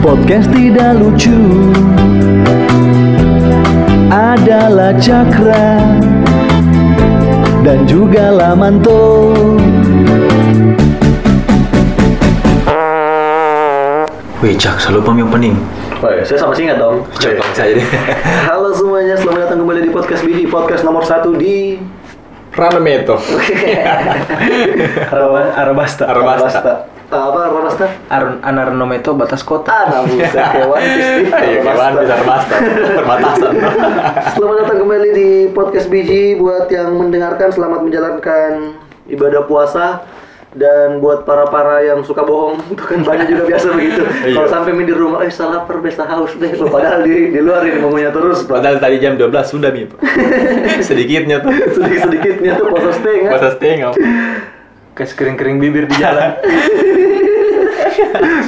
podcast tidak lucu adalah Cakra dan juga Lamanto. Wih, Cak, saya lupa yang pening. Oh ya, saya sama singkat dong. Iya. Cak, saya deh. Halo semuanya, selamat datang kembali di podcast Bidi, podcast nomor satu di Ranameto. Arab- Arabasta. Arabasta. Apa Arabasta? Ar Anarnometo batas kota. Iya, Ah, namun Nah. saya kewan Ayo, kawan bisa terbasta. Perbatasan. Selamat datang kembali di podcast Biji buat yang mendengarkan selamat menjalankan ibadah puasa dan buat para-para yang suka bohong itu kan banyak juga biasa begitu. Iya. Kalau sampai main di rumah eh salah perbesa haus deh Loh, padahal di di luar ini mengunyah terus Padahal tadi jam 12 sudah nih. Pak. Sedikitnya tuh. sedikit-sedikitnya tuh puasa stay kan. Masa Iya. setengah. Kayak kering-kering bibir di jalan.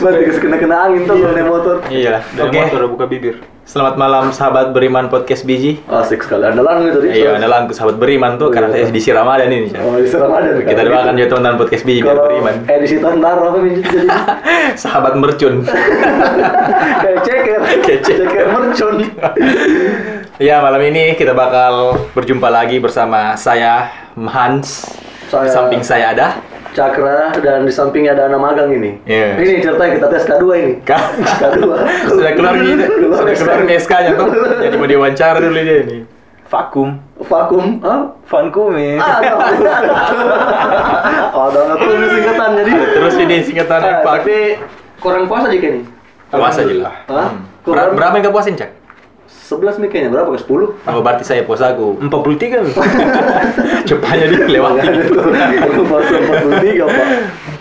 Berarti kena-kena angin tuh kalau naik motor. Iya lah. Dari Oke. motor udah buka bibir. Selamat malam sahabat beriman podcast Biji. Asik sekali andalan itu tadi. Iya, andalanku sahabat beriman tuh karena Iya. saya edisi Ramadan ini. Cak. Oh, di Ramadan. Ya. Kita doakan juga teman-teman podcast Biji biar Kalau beriman. edisi tahun baru apa minjem jadi Sahabat mercun. kayak ceker, Kayak ceker. ceker mercon. Ya, malam ini kita bakal berjumpa lagi bersama saya Hans. Saya- Di samping saya ada Cakra dan di sampingnya ada anak magang ini. Iya. Ini ceritanya kita tes K2 ini. Kak. K2. Sudah keluar nih, Keluar sudah keluar nih SK-nya tuh. Jadi mau diwawancara dulu dia ini. Vakum. Vakum. Hah? Vankume. Ah, ada. Ada nggak tuh ini singkatan jadi. Terus ini singkatan Ah, Pak. Tapi kurang puasa aja kayaknya. Puasa aja lah. Hah? Ber- Kurang berapa yang kau puasin, Cak? 11 nih kayaknya berapa? Ke 10? Oh, berarti saya puasa aku. 43 loh. Cepatnya dia lewat. Kurang puasa 43, Pak.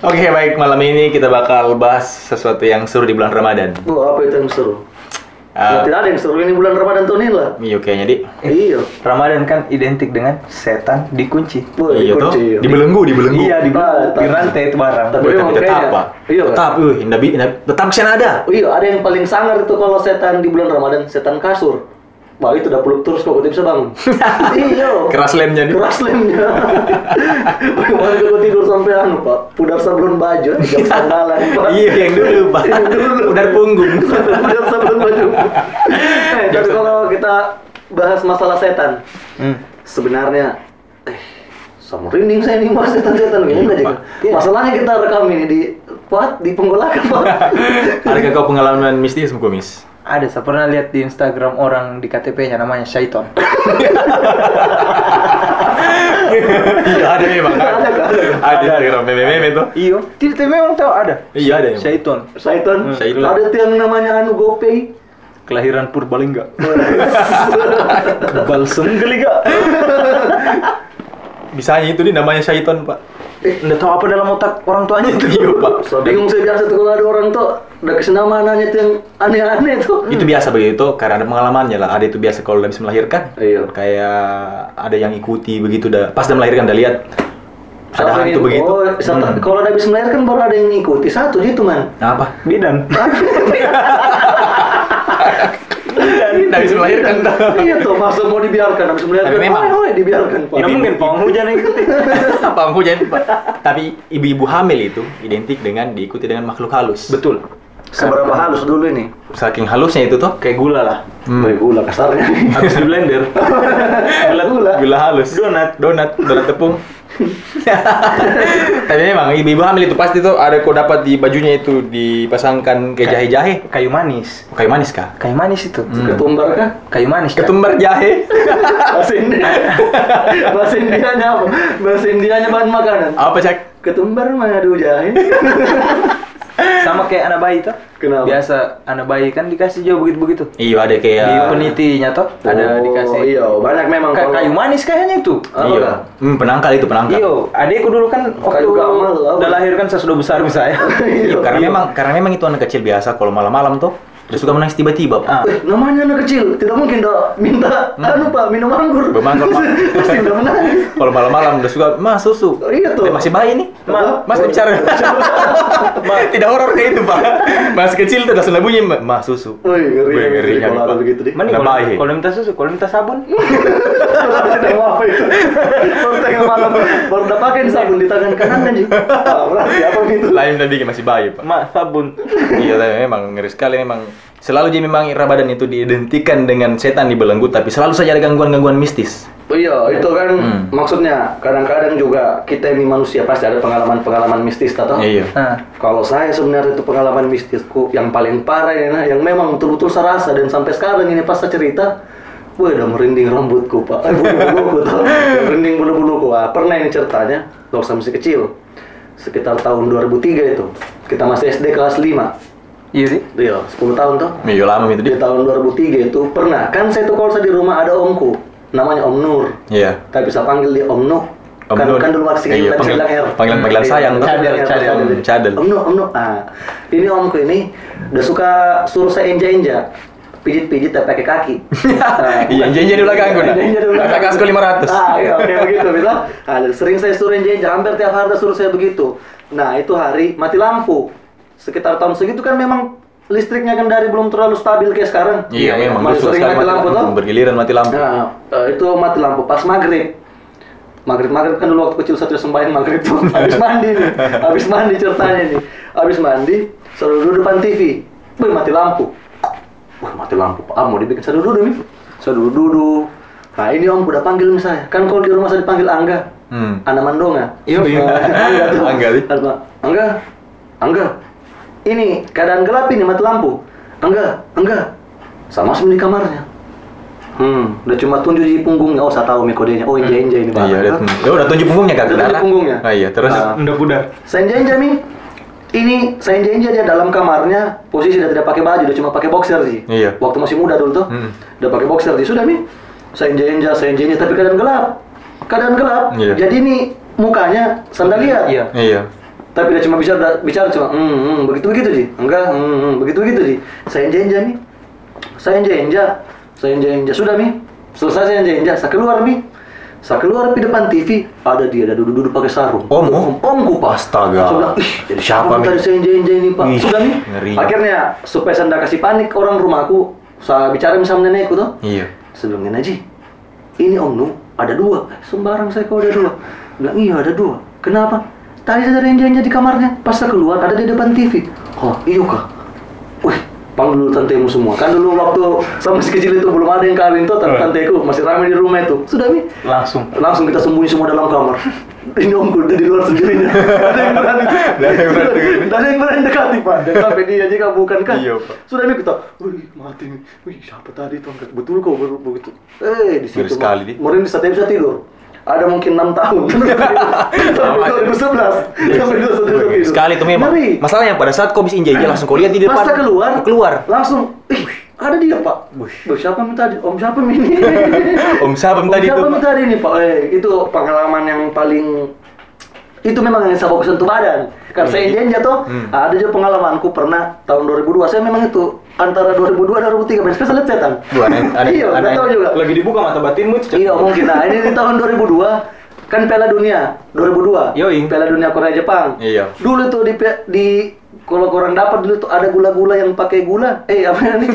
Oke, baik malam ini kita bakal bahas sesuatu yang seru di bulan Ramadan. Oh, apa itu yang seru? Ya, Eh, tidak ada yang seru ini bulan Ramadan tahun ini lah. Iya, kayaknya di. Iya. Ramadan kan identik dengan setan dikunci. Wah, Iya tuh. dikunci, iya. Dibelenggu, dibelenggu. Iya, di, Ah, di rantai itu barang. Tapi Tapi, emang tapi tetap, kayaknya- Pak. iya, kan? tetap, uh, indah, indah, tetap sana ada. Iya, ada yang paling sangar itu kalau setan di bulan Ramadan, setan kasur. Wah, itu udah peluk terus kok tidak bisa bangun. iya. Keras lemnya nih. Keras lemnya. Bagaimana kalau tidur sampai anu, Pak? Pudar sablon baju, jam sandalan, Pak. Iya, yang dulu, Pak. Yang dulu. Pudar punggung. Pudar sablon baju. Eh, tapi kalau kita bahas masalah setan, Hmm. sebenarnya eh sama rinding saya nih mas setan-setan Iya, gini aja kan. Masalahnya kita rekam ini di Pak di penggolakan, Pak. Adakah kau pengalaman mistis, Kumis? Ada, saya pernah lihat di Instagram orang di KTP-nya namanya Syaiton. Iya, ada memang. Ada, ada, ada, meme-meme tuh. Iyo, tidak tapi memang tahu ada. Iya, ada yang. Syaiton, Syaiton, Syaiton. ada tuh yang namanya anu GoPay. kelahiran Purbalingga. Kebal Senggeliga. Bisanya itu nih namanya syaiton, Pak. Eh, Nggak tahu apa dalam otak orang tuanya itu. Iya, Pak. so bingung saya biasa tuh kalau ada orang tuh udah kesenamanannya tuh yang aneh-aneh tuh. Hmm. Itu biasa begitu karena ada pengalamannya lah. Ada itu biasa kalau udah habis melahirkan. Iya. Kayak ada yang ikuti begitu dah. Pas udah melahirkan udah lihat ada Sampai hantu yang- begitu. Oh, satu- Hmm. kalau udah habis melahirkan baru ada yang ngikuti satu gitu man. Nah, apa? Bidan. Udah habis melahirkan dah. iya tuh, masa mau dibiarkan habis melahirkan. Tapi memang. Oh, oh, dibiarkan. Pak. Ya mungkin pawang hujan yang ikuti. apa aku jadi, Pak? Tapi ibu-ibu hamil itu identik dengan diikuti dengan makhluk halus. Betul. Seberapa halus dulu ini? Saking halusnya itu Hmm. tuh. Kayak gula lah. Hmm. Woi, gula kasarnya. Habis di blender. gula gula. Gula halus. Donat, donat, donat tepung. Tapi memang ibu-ibu hamil itu pasti tuh ada kau dapat di bajunya itu dipasangkan kayak jahe-jahe. Kayu manis. Kayu manis kah? Kayu manis itu. Ketumbar kah? Kayu manis. Kak. Ketumbar jahe. Bahasa India. Bahasa Indianya apa? Bahasa Indianya bahan makanan. Apa cak? Ketumbar madu jahe. Sama kayak anak bayi tuh. Kenapa? Biasa anak bayi kan dikasih juga begitu-begitu. Iya ada kayak. Di penitinya toh ada Ya. Oh, dikasih. iya, banyak memang Ka- kalau- Ah, kayu manis kayaknya itu. Apa Iya. kah? Hmm, penangkal itu penangkal. Iyo, adikku dulu kan waktu Kayu gamal, apa? udah lahir kan saya sudah besar misalnya. Iya. Iya, karena memang karena memang itu anak kecil biasa kalau malam-malam tuh Dia suka menangis tiba-tiba. Pak. Ah. Eh, namanya anak kecil, tidak mungkin dok minta anu pak minum anggur. Minum anggur, Pak. Pasti udah menangis. Kalau malam-malam udah suka, mas susu. Oh, iya tuh. Eh, masih bayi nih. Ma- Ma, mas oh, bicara. Ma, tidak horor kayak itu, Pak. Mas kecil tuh udah langsung bunyi, "Ma, mas susu. Wih, ngeri, Wih, ngeri, ngerinya kalau nih, ada Pak. begitu deh. Mending Nggak kalau, baik. kalau minta susu, kalau minta sabun. Tidak mau apa itu. Baru tengah malam baru udah pakai nih sabun di tangan kanan kan Ji. Ah, Berarti apa gitu? Lain dan bikin masih bayi, Pak. Mak sabun. iya, tapi memang ngeri sekali memang. Selalu jadi memang Ira Badan itu diidentikan dengan setan dibelenggu, tapi selalu saja ada gangguan-gangguan mistis. Oh iya, itu kan Hmm. maksudnya kadang-kadang juga kita ini manusia pasti ada pengalaman-pengalaman mistis atau Iya. Nah, Kalau saya sebenarnya itu pengalaman mistisku yang paling parah ya, Nah, yang memang betul-betul saya rasa dan sampai sekarang ini pas saya cerita, gue udah merinding rambutku pak, Eh, bulu-buluku tuh, merinding bulu-buluku. Ah, pernah ini ceritanya, waktu saya masih kecil, sekitar tahun 2003 itu, kita masih SD kelas 5, iya sih. iya 10 tahun tuh. Iya lama itu Di dia. tahun 2003 itu pernah, kan saya tuh kalau saya di rumah ada omku, namanya Om Nur, Iya. tapi saya panggil dia Om Nuk. Om kan, Nur. kan dulu masih kecil kan Iya, saya panggil- bilang R. panggilan- panggilan Iya, sayang. Cadel, Cadel, cadel, Om, cadel. Om Nuk, Om Nuk. Ah, ini omku ini udah suka suruh saya enja-enja. Pijit-pijit tapi pakai kaki. Ah, Iya, enja-enja di belakang gua, nah. Enja-enja di belakang. Rasa kasku 500. Ah, iya, kayak begitu. Bilang, ah, sering saya suruh enja-enja, hampir tiap hari dia suruh saya begitu. Nah, itu hari mati lampu. Sekitar tahun segitu kan memang listriknya Kendari belum terlalu stabil kayak sekarang. Iya, memang Masih Suka sering sekali mati lampu tuh. Bergiliran mati lampu. Nah, eh, itu mati lampu pas maghrib. Maghrib maghrib kan dulu waktu kecil satu sembahyang maghrib tuh habis mandi nih, habis mandi ceritanya nih, habis mandi selalu duduk depan TV, Wih, mati lampu. Wah mati lampu, ah mau dibikin saya duduk nih, saya duduk duduk. Nah ini om udah panggil misalnya, kan kalau di rumah saya dipanggil Angga, Hmm. anak Mandonga. Iya, iya. Nah, Angga tuh. Angga nih. Angga, Angga, Angga. Ini keadaan gelap ini mati lampu. Angga, Angga. Sama sini di kamarnya. Hmm, udah cuma tunjuk di punggungnya. Oh, saya tahu nih kodenya. Oh, inja inja ini Iya, udah, Hah? ya udah tunjuk punggungnya kak. Udah tunjuk Kenapa? punggungnya. Ah, iya, terus. Ah. Udah pudar. Saya inja inja nih. Ini saya inja inja dia dalam kamarnya. Posisi dia tidak pakai baju, dia cuma pakai boxer sih. Iya. Waktu masih muda dulu tuh, Hmm. udah pakai boxer sih. Sudah nih. Saya inja inja, saya inja inja. Tapi keadaan gelap, keadaan gelap. Iya. Jadi ini mukanya sandal lihat. Iya. Iya. Tapi dia cuma bicara bicara cuma hmm, hmm, begitu begitu sih. Enggak, hmm, hmm, begitu begitu sih. Saya enja enja nih. Saya enja enja. Saya enja enja sudah nih. Selesai saya enja enja. Saya keluar nih. Saya keluar di depan TV ada dia ada duduk-duduk pakai sarung. Om, Ommu? omku pas. Astaga. Saya bilang, ih, jadi siapa Apa nih? tadi saya enja enja ini pak? Ih, sudah nih. ngeri. Akhirnya supaya saya nggak kasih panik orang rumahku, saya bicara sama nenekku tuh. Iya. Sebelumnya Naji, ini Om Nu ada dua. Eh, Sembarang saya kau ada dua. Bilang iya ada dua. Kenapa? Tadi saya ada yang di kamarnya. Pas saya keluar ada di depan TV. Oh iya kah? Wih, panggil dulu tantemu semua. Kan dulu waktu saya masih kecil itu belum ada yang kawin tuh. Tante tanteku masih ramai di rumah itu. Sudah mi? Langsung. Langsung kita sembunyi semua dalam kamar. Ini omku udah di luar sendirinya. Ada yang berani. Ada yang berani. Ada yang berani dekati pak. Dan sampai dia jika bukan kan. Iya, Pak. Sudah mi kita. Wih mati nih. Wih siapa tadi tuh? Betul kok betul begitu. Eh di situ. Ngeri sekali, Di. Mungkin bisa bisa tidur. Ada mungkin 6 tahun. Sampai ya. 2011. Sampai 2011 tidur. Iya, Sekali tuh memang. Ngeri. Masalahnya pada saat kau bisa injak injak langsung kau lihat di depan. Pas saya keluar, Keluar. Langsung, ih, ada dia pak. Wih, siapa minta tadi? Om siapa ini? Om siapa Om tadi siapa tuh? minta tadi ini pak? Eh, itu pengalaman yang paling itu memang yang saya fokus untuk badan Iya. karena saya Indian jatuh Hmm. ada juga pengalamanku pernah tahun 2002 saya memang itu antara 2002 dan 2003 banyak sekali lihat setan Tuh, ada- ada- iya ada- nggak tahu juga Lagi dibuka mata batinmu. Cicak. Iya mungkin. Nah ini di tahun 2002 kan Piala Dunia 2002. Yoi. Piala Dunia Korea Jepang. Iya. Dulu tuh di pe- di kalau kurang dapat dulu tuh ada gula-gula yang pakai gula. Eh apa ini?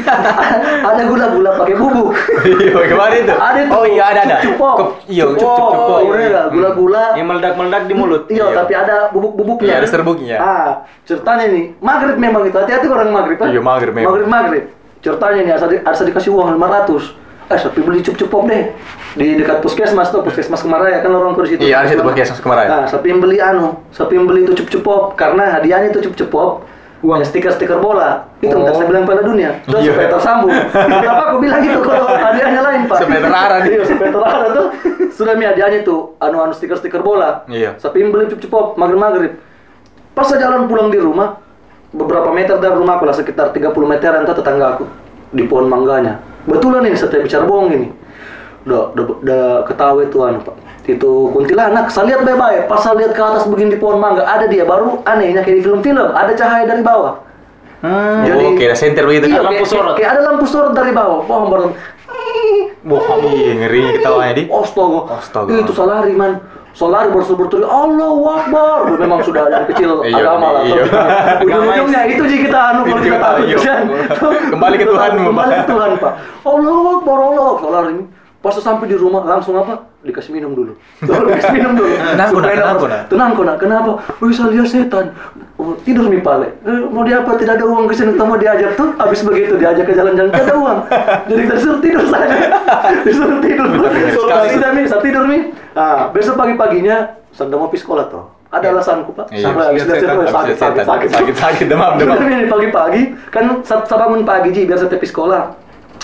ada gula-gula pakai bubuk. Iya, kemarin tuh. ada tuh. Oh iya ada ada. Cupok. Kep- Iya, cup cup cup. Oh, iya, cup. Gula-gula. Yang meledak-meledak di mulut. Iya, Iya. tapi ada bubuk-bubuknya. Iya, ada serbuknya. Ah, ceritanya nih, maghrib memang itu. Hati-hati orang maghrib. ah. Iya, maghrib memang. Maghrib, maghrib. Ceritanya nih, asal, di, asal dikasih uang 500. Eh, tapi beli cup-cupom deh. Di dekat puskesmas tuh, puskesmas Kemaraya. Kan orang kursi situ. Iya, ada situ puskesmas Kemaraya. Nah, sapi yang beli anu. Sapi yang beli itu cup-cupop. Karena hadiahnya itu cup-cupop. Uang stiker-stiker bola. Itu Oh. ntar saya bilang pada dunia. Terus Iya. supaya tersambung. Kenapa aku bilang gitu kalau hadiahnya lain, Pak? Supaya terarah nih. Iya, supaya terarah tuh. Sudah mi hadiahnya tuh, anu-anu stiker-stiker bola. Iya. Tapi beli cup-cupop maghrib-maghrib. Pas saya jalan pulang di rumah, beberapa meter dari rumah aku lah sekitar 30 meteran tuh tetangga aku di pohon mangganya. Betulan ini saya bicara bohong ini. Udah, udah, udah ketahui tuh anu pak. Itu kuntilanak, saya lihat baik-baik. Pas saya lihat ke atas begini di pohon mangga, ada dia baru anehnya kayak di film-film, ada cahaya dari bawah. Hmm. Jadi- oh, kira senter begitu Iya, kayak- kan lampu sorot. Kayak ada lampu sorot dari bawah. Bohong baru. Bohong. Iya, ngeri ketawanya di. Astaga. Astaga. Itu Solari man. Solari bersebetul Allah Akbar. Memang sudah dari kecil Iya, agama lah. iya. tapi Ujung-ujungnya itu sih kita anu kalau kita Iya, takut iya. kan. Kembali ke Tuhanmu, Kembali ke Pak. Tuhan Pak. Allah Akbar Allah. Akbar. Solari pas sampai di rumah langsung apa? Dikasih minum dulu. Dikasih minum dulu. Tenang, Kuna, Supaya tenang, dapat- Kuna. Tenang kona, kenapa? Wih saya lihat setan. Oh, tidur nih pale. Eh, mau diapa? Tidak ada uang kesini. Kita mau diajak tuh. Habis begitu diajak ke jalan-jalan. Tidak ada uang. Jadi kita disuruh tidur saja. disuruh tidur. Kalau tidak nih, saya tidur nih. Ah, besok pagi-paginya sedang ngopi sekolah toh. Ada alasanku pak. Iya, Sampai habis dari habis setan, sekolah, habis sakit, setan, sakit, sakit, sakit, sakit, demam, demam. Bener nih pagi-pagi. Kan saya saya bangun pagi ji biar saya tepi sekolah.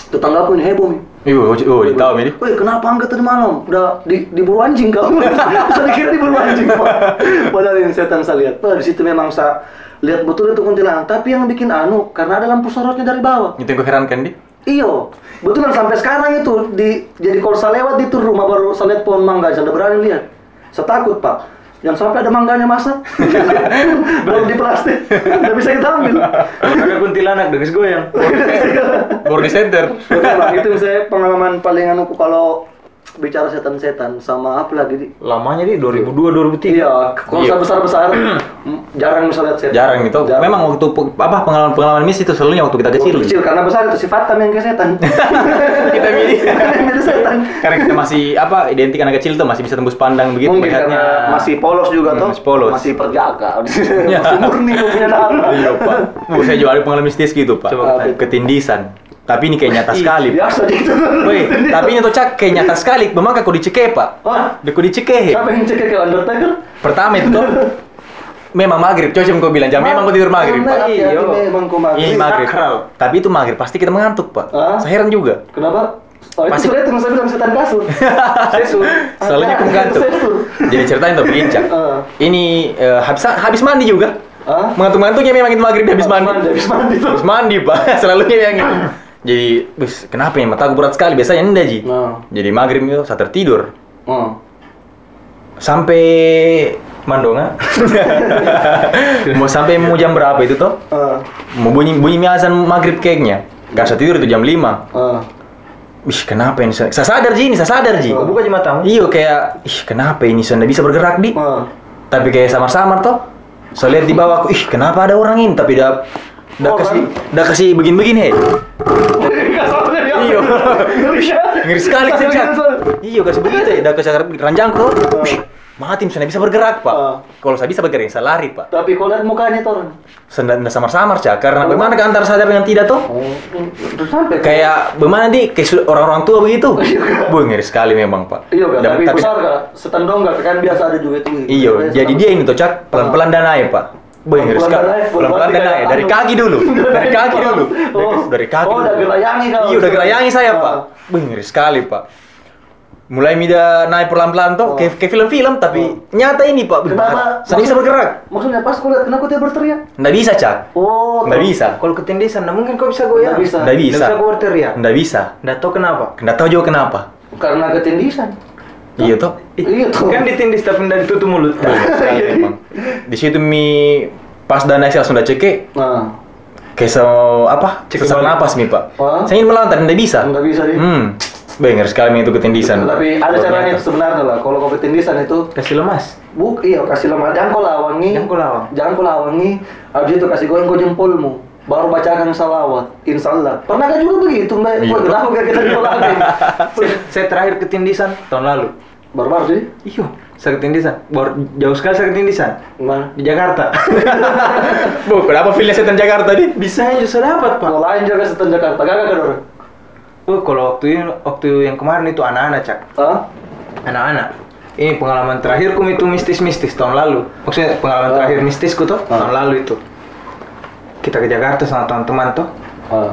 Tetangga aku ini heboh nih. Iya, oh, oh, di tahu ini. Weh, kenapa angkat tadi malam? Udah di, diburu anjing kamu. saya kira diburu anjing. Pak. Padahal yang setan saya lihat. Wah, di situ memang saya lihat betul itu kuntilanak. Tapi yang bikin anu, karena ada lampu sorotnya dari bawah. Itu yang kuherankan kan, di. Iyo, Iya. betulan sampai sekarang itu di jadi kalau saya lewat di itu rumah baru saya lihat pohon mangga, saya udah berani lihat. Saya takut pak, yang sampai ada mangganya masa belum di plastik, nggak bisa kita ambil. Kakak kuntilanak dengan goyang. Baru di senter. Betul, Pak. itu saya pengalaman paling anu ku kalau bicara setan-setan sama apa lagi di Lamanya di 2002 2003. Iya, kalau Iya. saya besar-besar mm, jarang misalnya setan. Jarang itu. Memang waktu pe- apa pengalaman-pengalaman miss itu selalunya waktu kita kecil. kecil. kecil karena besar itu sifat kami yang ke setan. Kita milih. Yang milih setan. Karena kita masih apa identik anak kecil tuh masih bisa tembus pandang begitu Mungkin karena masih polos juga Hmm, toh. Gitu masih polos. Masih perjaga. masih murni kau punya nama. Iya, Pak. Bu, saya juga ada pengalaman mistis gitu, Pak. Coba apa itu? ketindisan. Tapi ini kayak nyata sekali. Pak. Biasa gitu. Woi, tapi ini tuh cak kayak nyata sekali. Memang aku dicekeh, Pak. Wah, Aku dicekeh. siapa yang cekek ke Undertaker? Pertama itu tuh memang maghrib, coy, kau bilang jam memang kau tidur maghrib, Memang, Pak. hati-hati Iya. Memang kau maghrib. Ini maghrib. sakral. Tapi itu maghrib pasti kita mengantuk, Pak. Hah? Saya heran juga. Kenapa? Oh, itu Pasti- sudah itu yang saya bilang setan kasur. Sesur. Selalunya aku Ada, mengantuk. Sesur. Jadi ceritain tuh begini, Cak. Eh. ah? Ini eh, habis habis mandi juga. Hah? Mengantuk-ngantuknya memang itu maghrib habis mandi. Habis mandi tuh. Habis mandi, Pak. Selalunya yang ini. Jadi, wis, kenapa ya mata aku berat sekali? Biasanya enggak, Ji. Nah. Jadi maghrib itu saya tertidur. Oh. Sampai Mandonga. mau sampai mau jam berapa itu toh? Eh, Mau bunyi bunyi azan maghrib kayaknya. Gak saya tidur itu jam 5. eh. Ih, kenapa ini? Saya saya sadar, Ji, ini saya sadar, Ji. Oh, Buka aja matamu. Iya kayak ih kenapa ini saya nggak bisa bergerak di Ah. tapi kayak samar-samar toh saya lihat di bawah aku ih kenapa ada orang ini tapi dah dah Orang? kasih dah kasih begin-begin he Iya. ngeri sekali saya cak iya kasih begitu ya dah kasih ranjang tuh Ih, mati saya nggak bisa bergerak pak Ah. kalau saya bisa bergerak saya lari pak Tapi kalau lihat mukanya tuh orang. saya nggak- nggak samar-samar cak karena bagaimana ke antara sadar dengan tidak toh Terus sampai kayak bagaimana di kayak sudah orang-orang tua begitu bu ngeri sekali memang pak Iya kan, Dan- tapi, besar kan, setan donggat kan biasa ada juga itu. Iya, jadi dia ini tuh cak pelan-pelan dan naik pak. Boy, harus Iya. Pelan-pelan ya, Kak. naik, pelan-pelan dan berarti naik kayak dari anu. kaki dulu, dari kaki dulu, Dari- Oh. dari kaki. Oh, dulu. udah gerayangi kau. Iya, udah gerayangi saya Ah. pak. Boy, ngeri sekali pak. Mulai mida naik pelan-pelan Oh. tuh, kayak kayak film-film tapi nyata ini pak. Wih, Kenapa? bahaya. Saya nggak bisa bergerak. Maksudnya pas kau lihat kenapa dia berteriak? Nggak bisa cak. Oh, Nggak tuh. bisa. Kalau ketindisan, nah mungkin kau bisa goyang. Nggak bisa. Nggak bisa. Nggak bisa kau berteriak. Nggak bisa. Nggak tahu kenapa. Nggak tahu juga kenapa. Karena ketindisan. Iya toh. Ih, Iya tuh. Kan ditindis tapi nggak ditutup mulut. Boy, ngeri Iya. sekali emang. Di situ mi pas dan naik saya langsung udah cekek. Nah, Kayak so, apa? Cek Sesak kembali. napas nih pak. Wah. Saya ingin melawan tapi tidak bisa. Nggak bisa, Di. Hmm. Baik, ngeri sekali itu ketindisan. tapi ada Luar caranya biasa. sebenarnya lah. Kalau kau ketindisan itu Kasih lemas. Buk, iya kasih lemah jangkau lawangi. Jangkau lawang. Jangkau lawangi. Habis itu kasih goyang kau jempolmu. Baru bacakan salawat. Insya Allah. Pernah kan juga begitu mbak? Iya. Wah, kenapa gak kita ditolakin? Saya, saya terakhir ketindisan tahun lalu. Barbar sih. Iyo, saya ketindisan. Baru jauh sekali saya ketindisan Gimana? di Jakarta. Bu, kenapa filmnya setan Jakarta tadi? Bisanya justru dapat pak. Mau lain juga setan Jakarta, gak kan orang? Wah, kalau waktu ini, waktu yang kemarin itu anak-anak cak, Hah? anak-anak. Ini pengalaman terakhirku itu mistis-mistis tahun lalu. Maksudnya pengalaman Ah. terakhir mistisku tuh Ah. tahun lalu itu. Kita ke Jakarta sama teman-teman tuh Ah.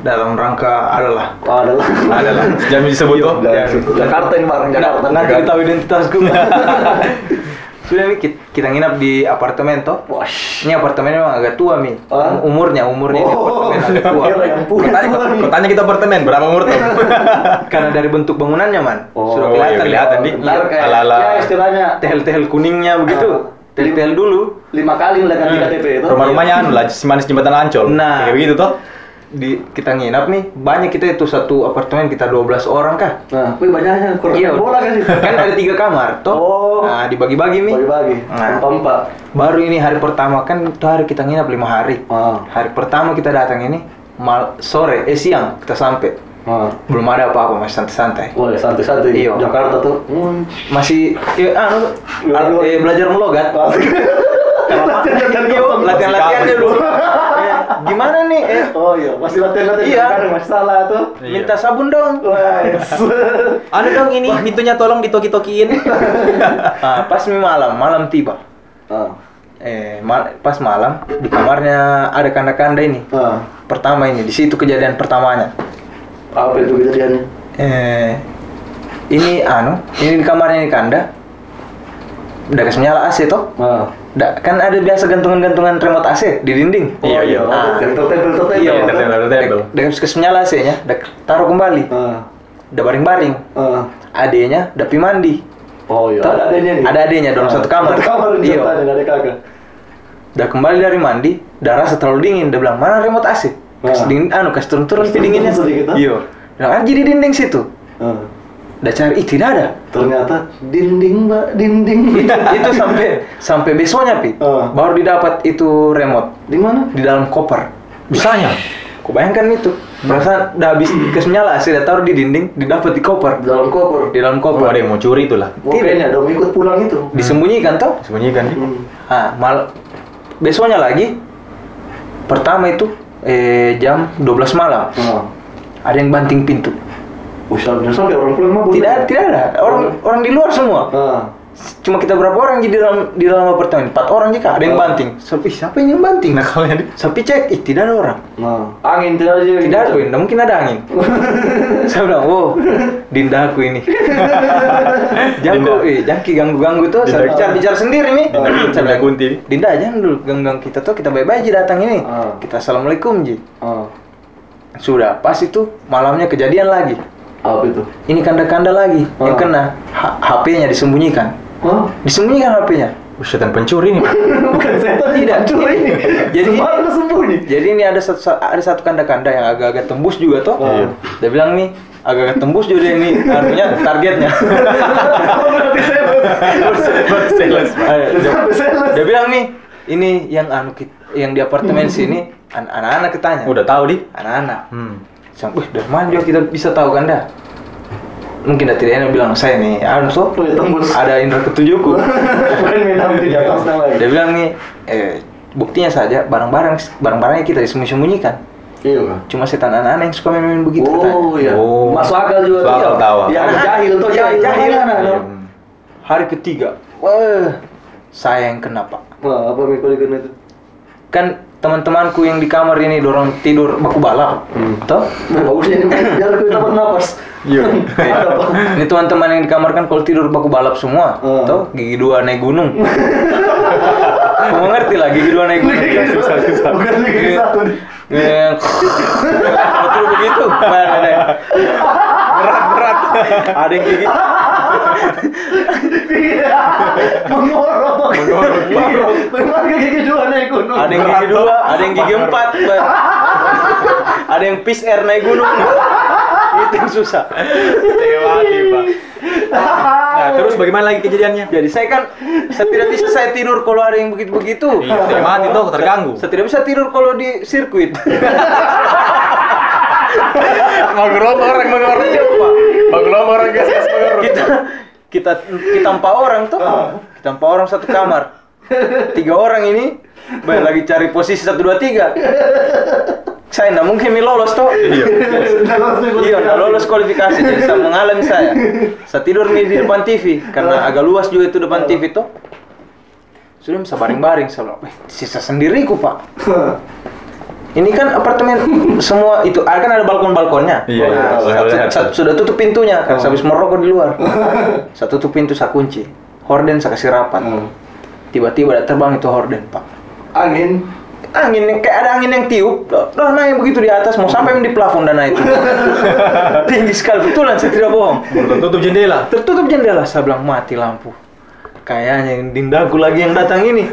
dalam rangka adalah Oh, adalah. Adalah. Jam disebut oh. tuh. Iya, Jangan. Jakarta ini bareng Jakarta. Oh, Nggak kita tahu identitasku. Sudah Mi, ki- kita nginap di apartemen toh. Wash. Ini apartemen memang agak tua mi. Ah? Umurnya umurnya ini Oh, apartemen agak tua. kira yang punya. Kotanya, kotanya kita apartemen, berapa umur tuh? Karena dari bentuk bangunannya man, Oh, sudah iya, kelihatan. kelihatan, Di. Ntar kayak, Ala-ala. ya istilahnya. Tehel-tehel kuningnya begitu. Ah. tel-tel dulu. lima kali melekan di KTP itu Rumah-rumahnya anu lah, si manis jembatan Ancol. Nah. Kayak begitu toh. Di kita nginap nih, banyak kita itu satu apartemen kita 12 orang kah? nah wih banyaknya kurang Iya, bola kan itu Kan ada tiga kamar toh. Oh. Nah, dibagi-bagi nih. bagi-bagi Nah. empat empat Baru ini hari pertama kan itu hari kita nginap lima hari. Ah. Hari pertama kita datang ini mal sore eh siang kita sampai. ah Belum ada apa-apa masih santai-santai. boleh santai-santai di Iya. Jakarta tuh hmm. Masih Iya, eh, ah, anu, Ngeluar. eh, belajar melogat. Oh, Iya, Latihan-latihan latihan latihannya dulu. Eh, gimana nih? Eh, oh iya Ah, masih latihan-latihan Iya. kadang masih salah tuh minta sabun dong. Wah, Iya. Anu dong ini pintunya tolong ditoki-tokiin. Ah, pas mi malam, malam tiba. ah Eh, mal- pas malam di kamarnya ada kanda-kanda ini. ah Pertama ini di situ kejadian pertamanya. apa itu kejadiannya Eh, ini anu, ini di kamarnya ini kanda. Udah kasih nyala AC toh? ah Da- kan ada biasa gantungan-gantungan remote AC di dinding. Iya, iya. Ah. Tertempel, tertempel. Iya, tertembel, tertembel. Dengan kasih nyala AC-nya, dah ya, taruh kembali. Ah. Udah baring-baring. Ah. Adenya udah pi mandi. Oh iya, Tuh, ada adanya nih. Ah. ada adanya dalam satu kamar. Satu kamar di Iya. ada adik kakak. Udah kembali dari mandi, udah rasa terlalu dingin. Udah bilang, mana remote AC? Nah. Kasih Ah. dingin, anu, kasih turun-turun Kasih pi dinginnya. turun sedikit, ah. Iya. Bilang, ah, jadi dinding situ. Ah. Udah cari, ih tidak ada. Ternyata dinding, Mbak, dinding. itu, itu sampai sampai besoknya pi Ah. baru didapat itu remote di mana? di dalam koper Bisanya. Kau bayangkan itu Hmm. perasaan udah habis kesmenyala sih udah taruh di dinding didapat di koper Di dalam koper. di dalam Oh, koper ada yang mau curi itulah. Mungkin ya, dong ikut pulang itu. disembunyikan toh Sembunyikan. Hmm. ah mal besoknya lagi pertama itu eh, jam 12 malam Ah. ada yang banting pintu Usahanya sampai orang pulang mah boleh. tidak tidak ada orang orang di luar semua Ah. cuma kita berapa orang jadi di dalam di dalam apartemen empat orang jika ada yang Oh. banting siapa siapa yang banting nah kalau siapa cek ih tidak ada orang Nah, angin tidak ada. juga tidak gitu. aku ini mungkin ada angin saya bilang wow dinda aku ini jangan eh, jangki ganggu ganggu tuh saya Dinda- bicara bicara sendiri nih Dinda- Saya Dinda bilang, Kunti. dinda jangan dulu ganggu ganggu kita tuh kita bye bye aja datang ini Ah. kita assalamualaikum ji Ah. sudah pas itu malamnya kejadian lagi Apa itu? ini kanda kanda lagi yang Ah. kena H- HP-nya disembunyikan Hah? disembunyikan HP-nya Wih, setan pencuri nih. Pak. Bukan setan Tidak. hancur ini. Jadi- Sembarang udah sembunyi. Jadi ini ada satu ada satu kanda-kanda yang agak-agak tembus juga toh. Iya. Dia bilang nih agak-agak tembus juga dia ini anunya targetnya. Oh, Berarti Baru sales, Pak. dia, sales. dia bilang nih ini yang anu kit- yang di apartemen sini an- anak-anak ketanya. Udah tahu di. Anak-anak. Hmm. Sang, "Wih, dari mana juga kita bisa tahu kanda? Mungkin dari dia bilang saya nih anu toh. Oh, ya, tembus. Ada indra ketujuhku. Bukan minta di atas dan lain. dia bilang nih eh, buktinya saja barang-barang barang-barangnya kita disembunyikan. Iya, Kak. Cuma setan anak-anak yang suka main-main begitu katanya. Oh iya. Oh. Masuk akal juga. Masuk akal Iya. tawa. Yang Nah, jahil tuh iya, jahil. jahil. Nah, nah. Hmm. Hari ketiga, wah, saya yang kena pak. Wah, apa mikul ikut itu? Kan teman-temanku yang di kamar ini dorong tidur baku balap, toh? Nah, bagusnya ini biar kita bernapas. Iya. hmm. Ada apa? Ini teman-teman yang di kamar kan kalau tidur baku balap semua, Hmm. toh? Gigi dua naik gunung. Kamu ngerti lah gigi dua naik gunung. Iya, Gigi dua. Bukan gigi satu nih. Ngeng. Betul begitu. Mana ada? Berat berat. Ada yang gigi Iya. Mengorok. Mengorok. Memang gitu, ke gigi dua naik gunung. ada yang gigi dua, ada yang gigi empat, Bar. ada yang pis air naik gunung. itu yang susah. Lewati, Pak. Nah, terus bagaimana lagi kejadiannya? Jadi saya kan saya tidak bisa saya tidur kalau ada yang begitu-begitu. Iya, saya mati tuh, terganggu. Saya tidak bisa tidur kalau di sirkuit. Mengorok orang, mengorok Pak. Mengorok orang, guys, guys, mengorok. kita kita kita empat orang tuh. Ah. Kita empat orang satu kamar. Tiga orang ini baik lagi cari posisi satu dua tiga. Saya nggak mungkin nih lolos toh. Iya. Sudah langsung ikut Iya, nggak dikasih. lolos kualifikasi. Jadi saya mengalami saya. Saya tidur nih di depan TV Ah. karena agak luas juga itu depan TV tuh. Sudah bisa baring-baring saya bilang, "Weh, sisa sendiriku pak. Hah. Ini kan apartemen semua itu, ah, kan ada balkon-balkonnya. Iya, iya, Nah, saya saya- lihat. Ah. saya sudah tutup pintunya, karena saya habis merokok di luar. Saya tutup pintu, saya kunci. Horden saya kasih rapat. Hmm. Tiba-tiba ada terbang itu horden pak. Angin. Angin yang- kayak ada angin yang tiup, dah naik begitu di atas mau Hmm. sampai di plafon dana itu. Tinggi sekali, betulan saya tidak bohong. Tutup jendela. Tertutup jendela, saya bilang mati lampu. kayaknya yang dindaku lagi yang datang ini.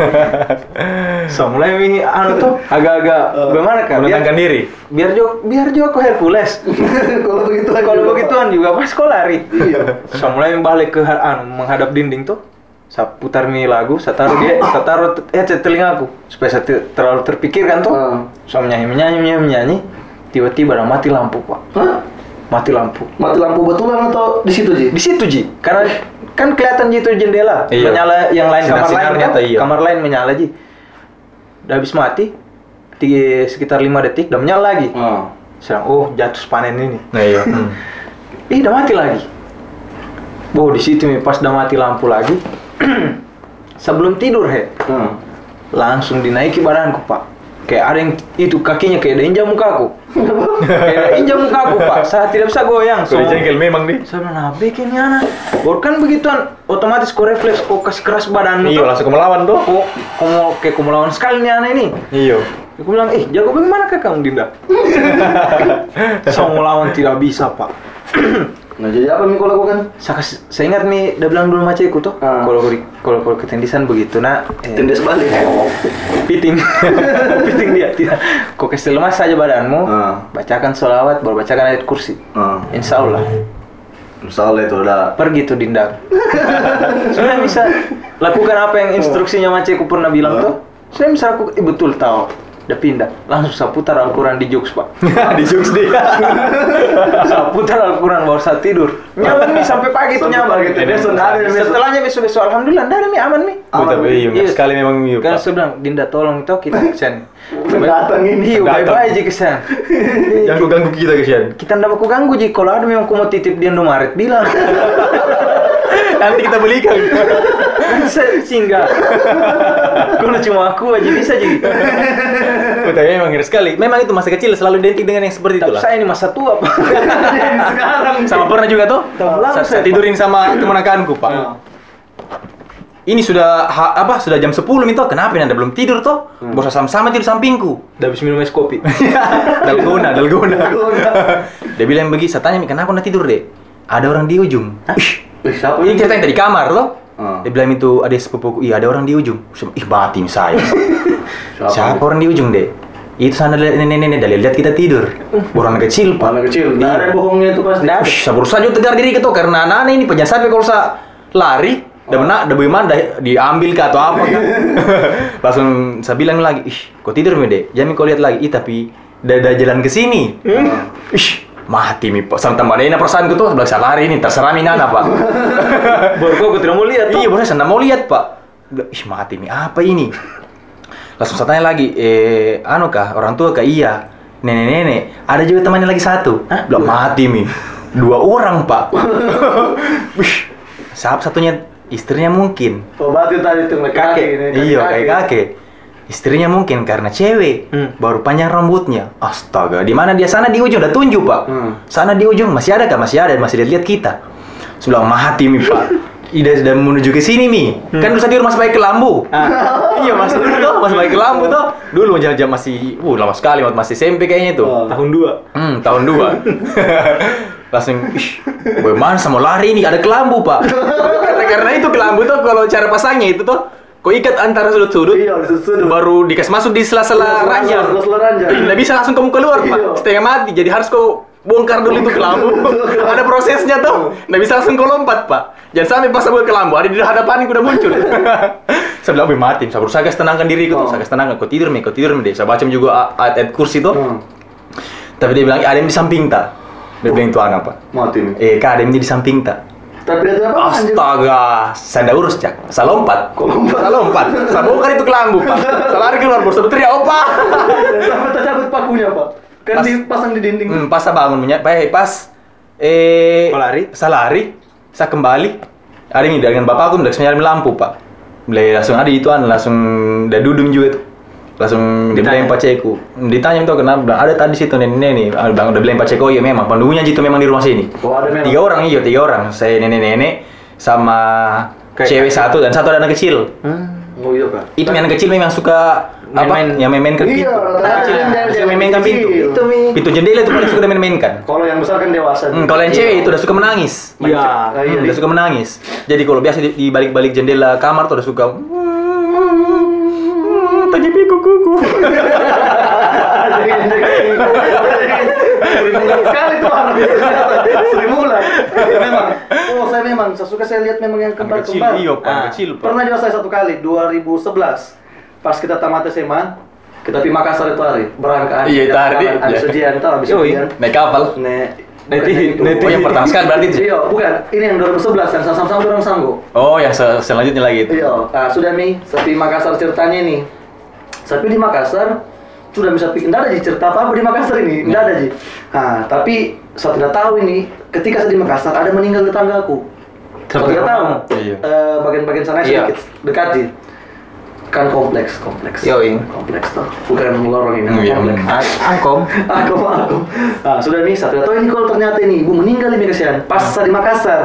so mulai ini anu tuh agak-agag bagaimana kak? Eh, Menenangkan diri. Biar Joko, biar Joko Hercules. Kalau begitu aja. Kalau begituan juga pas kau lari. Iya. So mulai balik ke ha- anu menghadap dinding tuh. Saya putar nih lagu, saya taruh dia, saya taruh te- headset telinga aku supaya saya te- terlalu terpikirkan tuh. Ah. So menyanyi menyanyi menyanyi menyanyi. Tiba-tiba ada mati lampu pak, Hah? mati lampu. Mati lampu betulan atau di situ Ji? di situ ji karena kan kelihatan ji itu jendela Iya. menyala yang lain kamar Sinar-sinar lain nyata, kan? iya. kamar lain menyala ji udah habis mati tiga, sekitar lima detik udah menyala lagi Ah. Serang, oh jatuh panen ini Nah iya. Hmm. ih udah mati lagi Wow di situ nih pas udah mati lampu lagi sebelum tidur he Ah. langsung dinaiki badanku pak kayak ada yang itu kakinya kayak ada injak mukaku kayak ada injak mukaku pak saya tidak bisa goyang Kau So- dijengkel memang nih. saya bilang, "Nah, bikin ini anak. Baru kan begituan, otomatis kau refleks, kau kasih keras badan Iya langsung kau melawan tuh. Kau, kau mau kayak kau melawan sekali nih anak ini. Iya. Aku bilang, eh jago bagaimana kak kamu Dinda? saya mau lawan tidak bisa pak. Nah jadi apa yang kau lakukan? Saya, kasih- saya ingat nih, dia bilang dulu maceku tuh, Ah. kalau kau di- kalau kalau ketendisan begitu nak, eh, Tindas balik. piting, Oh, piting dia tidak. Kau kasih lemas saja badanmu, Iya. Ah. bacakan sholawat, baru bacakan ayat kursi. Ah. Insya Allah. Misalnya itu udah pergi tuh dindang saya bisa lakukan apa yang instruksinya Maceku pernah Ah. bilang tuh saya bisa aku eh, betul tahu udah pindah langsung saya putar Al-Quran di jokes pak Di jokes dia. saya putar Al-Quran baru saya tidur nyaman nih sampai pagi tuh Sampai nyaman pagi tuh, besok nggak ada nih, besok. setelahnya besok-besok Alhamdulillah nggak ada nih aman nih Oh, tapi iya, benar sekali memang iya, Kan Pak. saya bilang, Dinda tolong itu kita kesen. Pendatang ini. Iya, Pendatang. bye-bye aja kesen. Jangan kau ganggu kita kesian. Kita ndak aku ganggu, Ji. Kalau ada memang aku mau titip di Indomaret, bilang. Nanti kita belikan. bisa singgah kalau cuma aku aja bisa jadi Tapi iya, memang ngeri sekali. Memang itu masa kecil selalu identik dengan yang seperti tapi itulah. saya ini masa tua pak sekarang. Sama pernah juga tuh. Tahun lalu Sa- saya, Saya tidurin sama teman angkatanku, Pak. Iya. Ah. Ini sudah ha- apa sudah jam 10 itu kenapa ini Anda belum tidur toh? Bos sama-sama tidur sampingku. udah habis minum es kopi dalgona, dalgona. Dia bilang begini, saya tanya, "Mi, kenapa anda tidur deh? Ada orang di ujung. Eh, siapa Ini cerita yang dari kamar loh. Hmm. Dia bilang itu ada sepupuku, iya ada orang di ujung. Saya bilang, Ih batin saya. Siapa? Siapa orang di ujung deh? Itu sana ada nenek-nenek, dari lihat kita tidur. Orang kecil pak. Anak kecil. Nah, ada bohongnya itu pasti. Nggak ada. Ush, saya berusaha juga tegar diri gitu karena anak-anak ini penjelasan sampai kalau saya lari dan mana dan bagaimana dah- diambil kah atau apa kah. langsung saya bilang lagi ih kok tidur mi dek jamin kau lihat lagi ih tapi dada jalan ke sini Ah. ih mati mi pak sama tambah ini perasaanku tuh sebelah saya lari ini terserah mi nana pak baru kok aku tidak mau lihat iya boleh saya nggak mau lihat pak Bilang, ih mati mi apa ini langsung saya tanya lagi eh anu kah orang tua kah iya nenek nenek ada juga temannya lagi satu Hah? belum mati mi dua orang pak Wih, salah satunya istrinya mungkin Obatin Oh, tadi tuh kakek. Kakek. ini, iya kayak kakek istrinya mungkin karena cewek Hmm. baru panjang rambutnya astaga di mana dia sana di ujung udah tunjuk pak Hmm. sana di ujung masih ada kah masih ada masih lihat kita sudah mati mi pak Ida sudah menuju ke sini mi. Hmm. Kan bisa tidur Mas Baik ke Lambu. Ah. iya Mas dulu toh, Mas Baik ke Lambu toh. Dulu jam jam masih uh lama sekali masih SMP kayaknya itu. Oh. tahun dua Hmm, tahun 2 Langsung, ih, bagaimana sama lari ini? Ada kelambu, Pak. karena, karena itu kelambu tuh kalau cara pasangnya itu tuh kau ikat antara sudut-sudut. Iya, sudut-sudut. Baru dikasih masuk di Iya, sela-sela Sela-sela, ranjang. sela-sela ranjang. Nggak bisa langsung kamu keluar, Iya. Pak. Setengah mati. Jadi harus kau bongkar dulu itu kelambu. ada prosesnya tuh. Nggak bisa langsung kau lompat, Pak. Jangan sampai pas aku kelambu, ada di hadapan udah muncul. saya bilang, "Wih, mati. Saya berusaha guys, tenangkan diriku tuh. Oh. Saya guys, tenangkan. Kau tidur, Mi. Kau tidur, Mi. deh." Saya baca juga ayat-ayat kursi tuh. Hmm. Tapi dia bilang, "Eh, ada yang di samping tak? Dia bilang itu anak pak. Mati nih. Eh, kak ada yang di samping tak? Tapi ada apa? anjir? Astaga, saya ndak urus cak. Saya lompat. Oh, Kok lompat? Saya lompat. Saya bongkar itu kelambu pak. Saya lari keluar bos. Saya teriak opa. Dan sampai tercabut pakunya, Pak. Kan Pas- dipasang di dinding. Hmm, pas saya bangun punya, eh, pas eh Kau lari? Saya lari. Saya kembali. Ada ini dengan bapak aku udah nyari lampu pak. Mulai langsung ada itu an langsung udah dudung juga tuh. Langsung Ditanya. ditanya Paceku. Ditanya itu kenapa bilang ada tadi situ nenek nenek. Ah, Bang udah bilang Paceku iya memang penunggunya itu memang di rumah sini. Oh, ada memang. Tiga orang iya tiga orang. Saya nenek nenek sama Kayak- cewek satu dan satu ada anak kecil. Hmm. Oh iya, Pak. Itu yang anak kecil memang suka apa Main-main. yang main-main ke Iya, pintu. rata-rata Kecil, main-main yang jalan main-mainkan kecil. pintu. Itu, Mi. Pintu jendela itu paling suka dia main-mainkan. Kalau yang besar kan dewasa. Hmm, kalau yang cewek itu udah suka menangis. Iya. Nah, iya, Hmm, udah Di. suka menangis. Jadi kalau biasa di, di balik-balik jendela kamar tuh udah suka. "Hmm, Tadi piku kuku. Iya. sekali tuh orang sering mulai memang oh saya memang saya suka saya lihat memang yang kembar Iya. Kecil, kembar iya, Ah. Pak. Kecil, Pak. pernah juga saya satu kali 2011 pas kita tamat SMA kita pergi Makassar itu hari berangkat Iya, itu hari. habis Iya. ujian tau habis Yoi. ujian Naik kapal. Nek, Nanti- bukan yang itu. nanti Oh, yang pertama sekali berarti. itu. Iya, bukan. Ini yang 2011 yang sama-sama dorong sanggup. Oh, yang se- selanjutnya lagi itu. Iya, ah, sudah nih, sapi Makassar ceritanya nih. Sapi di Makassar sudah bisa pikir, nggak ada Ji, cerita apa apa di Makassar ini, nggak ada Ji. Nah, tapi saya tidak tahu ini, ketika saya di Makassar ada meninggal tetanggaku. Saya Tetangga tidak tahu, mana? Iya. Eh, bagian-bagian sana Iya. sedikit dekat Ji. Kan kompleks, kompleks. Yoi. Kompleks tuh, bukan lorong ini, Hmm, iya, kompleks hmm. Ah, Angkom. aku aku nah, sudah nih satu atau ini kalau ternyata ini ibu meninggal di Makassar Hmm. pas saya di Makassar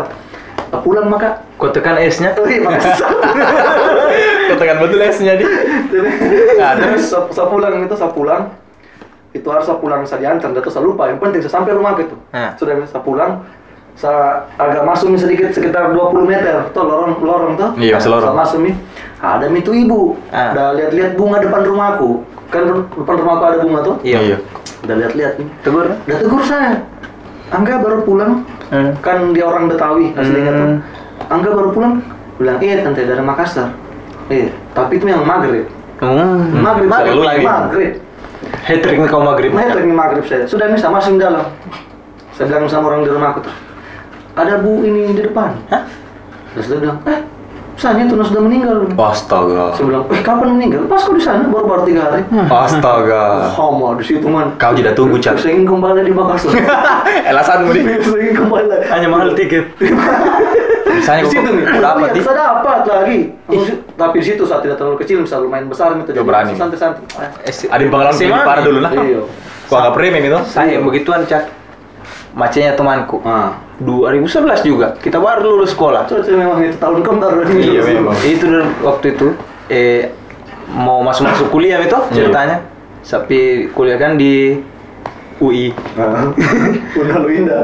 Eh, pulang maka Kau tekan esnya. eh, Makassar Katakan betul esnya di. Nah, terus saya saya pulang itu saya pulang itu harus saya pulang saya diantar itu saya lupa yang penting saya sampai rumah gitu Nah. sudah saya pulang saya agak masuk nih sedikit sekitar 20 meter tuh lorong lorong tuh Iya, masih lorong. saya masuk nih ada nih tuh ibu Ah. udah lihat-lihat bunga depan rumahku kan depan rumahku ada bunga tuh Iya. udah lihat-lihat nih Tegur. Udah tegur saya. Angga baru pulang. Hmm. Kan dia orang Betawi Hmm. asli kata. Angga baru pulang. Bilang, iya tante dari Makassar. Eh, tapi itu yang maghrib. Hmm. Maghrib, Bisa maghrib, lu ini. maghrib. maghrib. Hat trick nih kau maghrib. Nah, itu ini maghrib saya. Sudah nih sama sing dalam. Saya bilang sama orang di rumah aku tuh. Ada bu ini di depan. Hah? Terus dia bilang, eh, Sanya Tuna sudah meninggal. Astaga. Saya bilang, eh kapan meninggal? Pas kau di sana, baru-baru tiga hari. Astaga. Homo di situ man. Kau tidak tunggu, Cak. Saya ingin kembali di Makassar. Elasanmu di. Saya ingin kembali. Hanya mahal tiket. Misalnya di situ nih. kau dapat di. Saya dapat lagi. Maksud- tapi di situ saat tidak terlalu kecil, misal lumayan besar gitu. Yo, berani. Santai-santai. Ah, Eh, Ada yang pengalaman lebih parah dulu nah. Iya. Kau agak premium itu. Saya begituan cak. Macenya temanku. Ah. 2011 juga. Kita baru lulus sekolah. Itu itu memang itu tahun kembar. Iya, memang. Itu dulu waktu itu eh mau masuk-masuk kuliah itu Iya. ceritanya. Tapi kuliah kan di UI. Ah. Udah lu indah.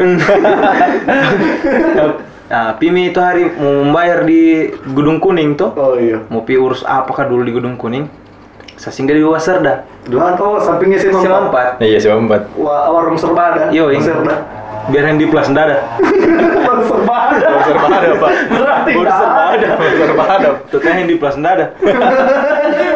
Nah, Pimi itu hari mau membayar di Gedung Kuning tuh. Oh iya. Mau pi urus apakah dulu di Gedung Kuning? Saya singgah di Wasarda. Dua oh sampingnya sih Saya lompat. Iya, siapa empat. Wah, warung serba ada. Yo, iya. Warung serba. biar yang di plus dada. Warung serba ada. Baru serba ada, Pak. Berarti Baru dah. serba ada. Baru serba ada. Tutnya yang di plus dada.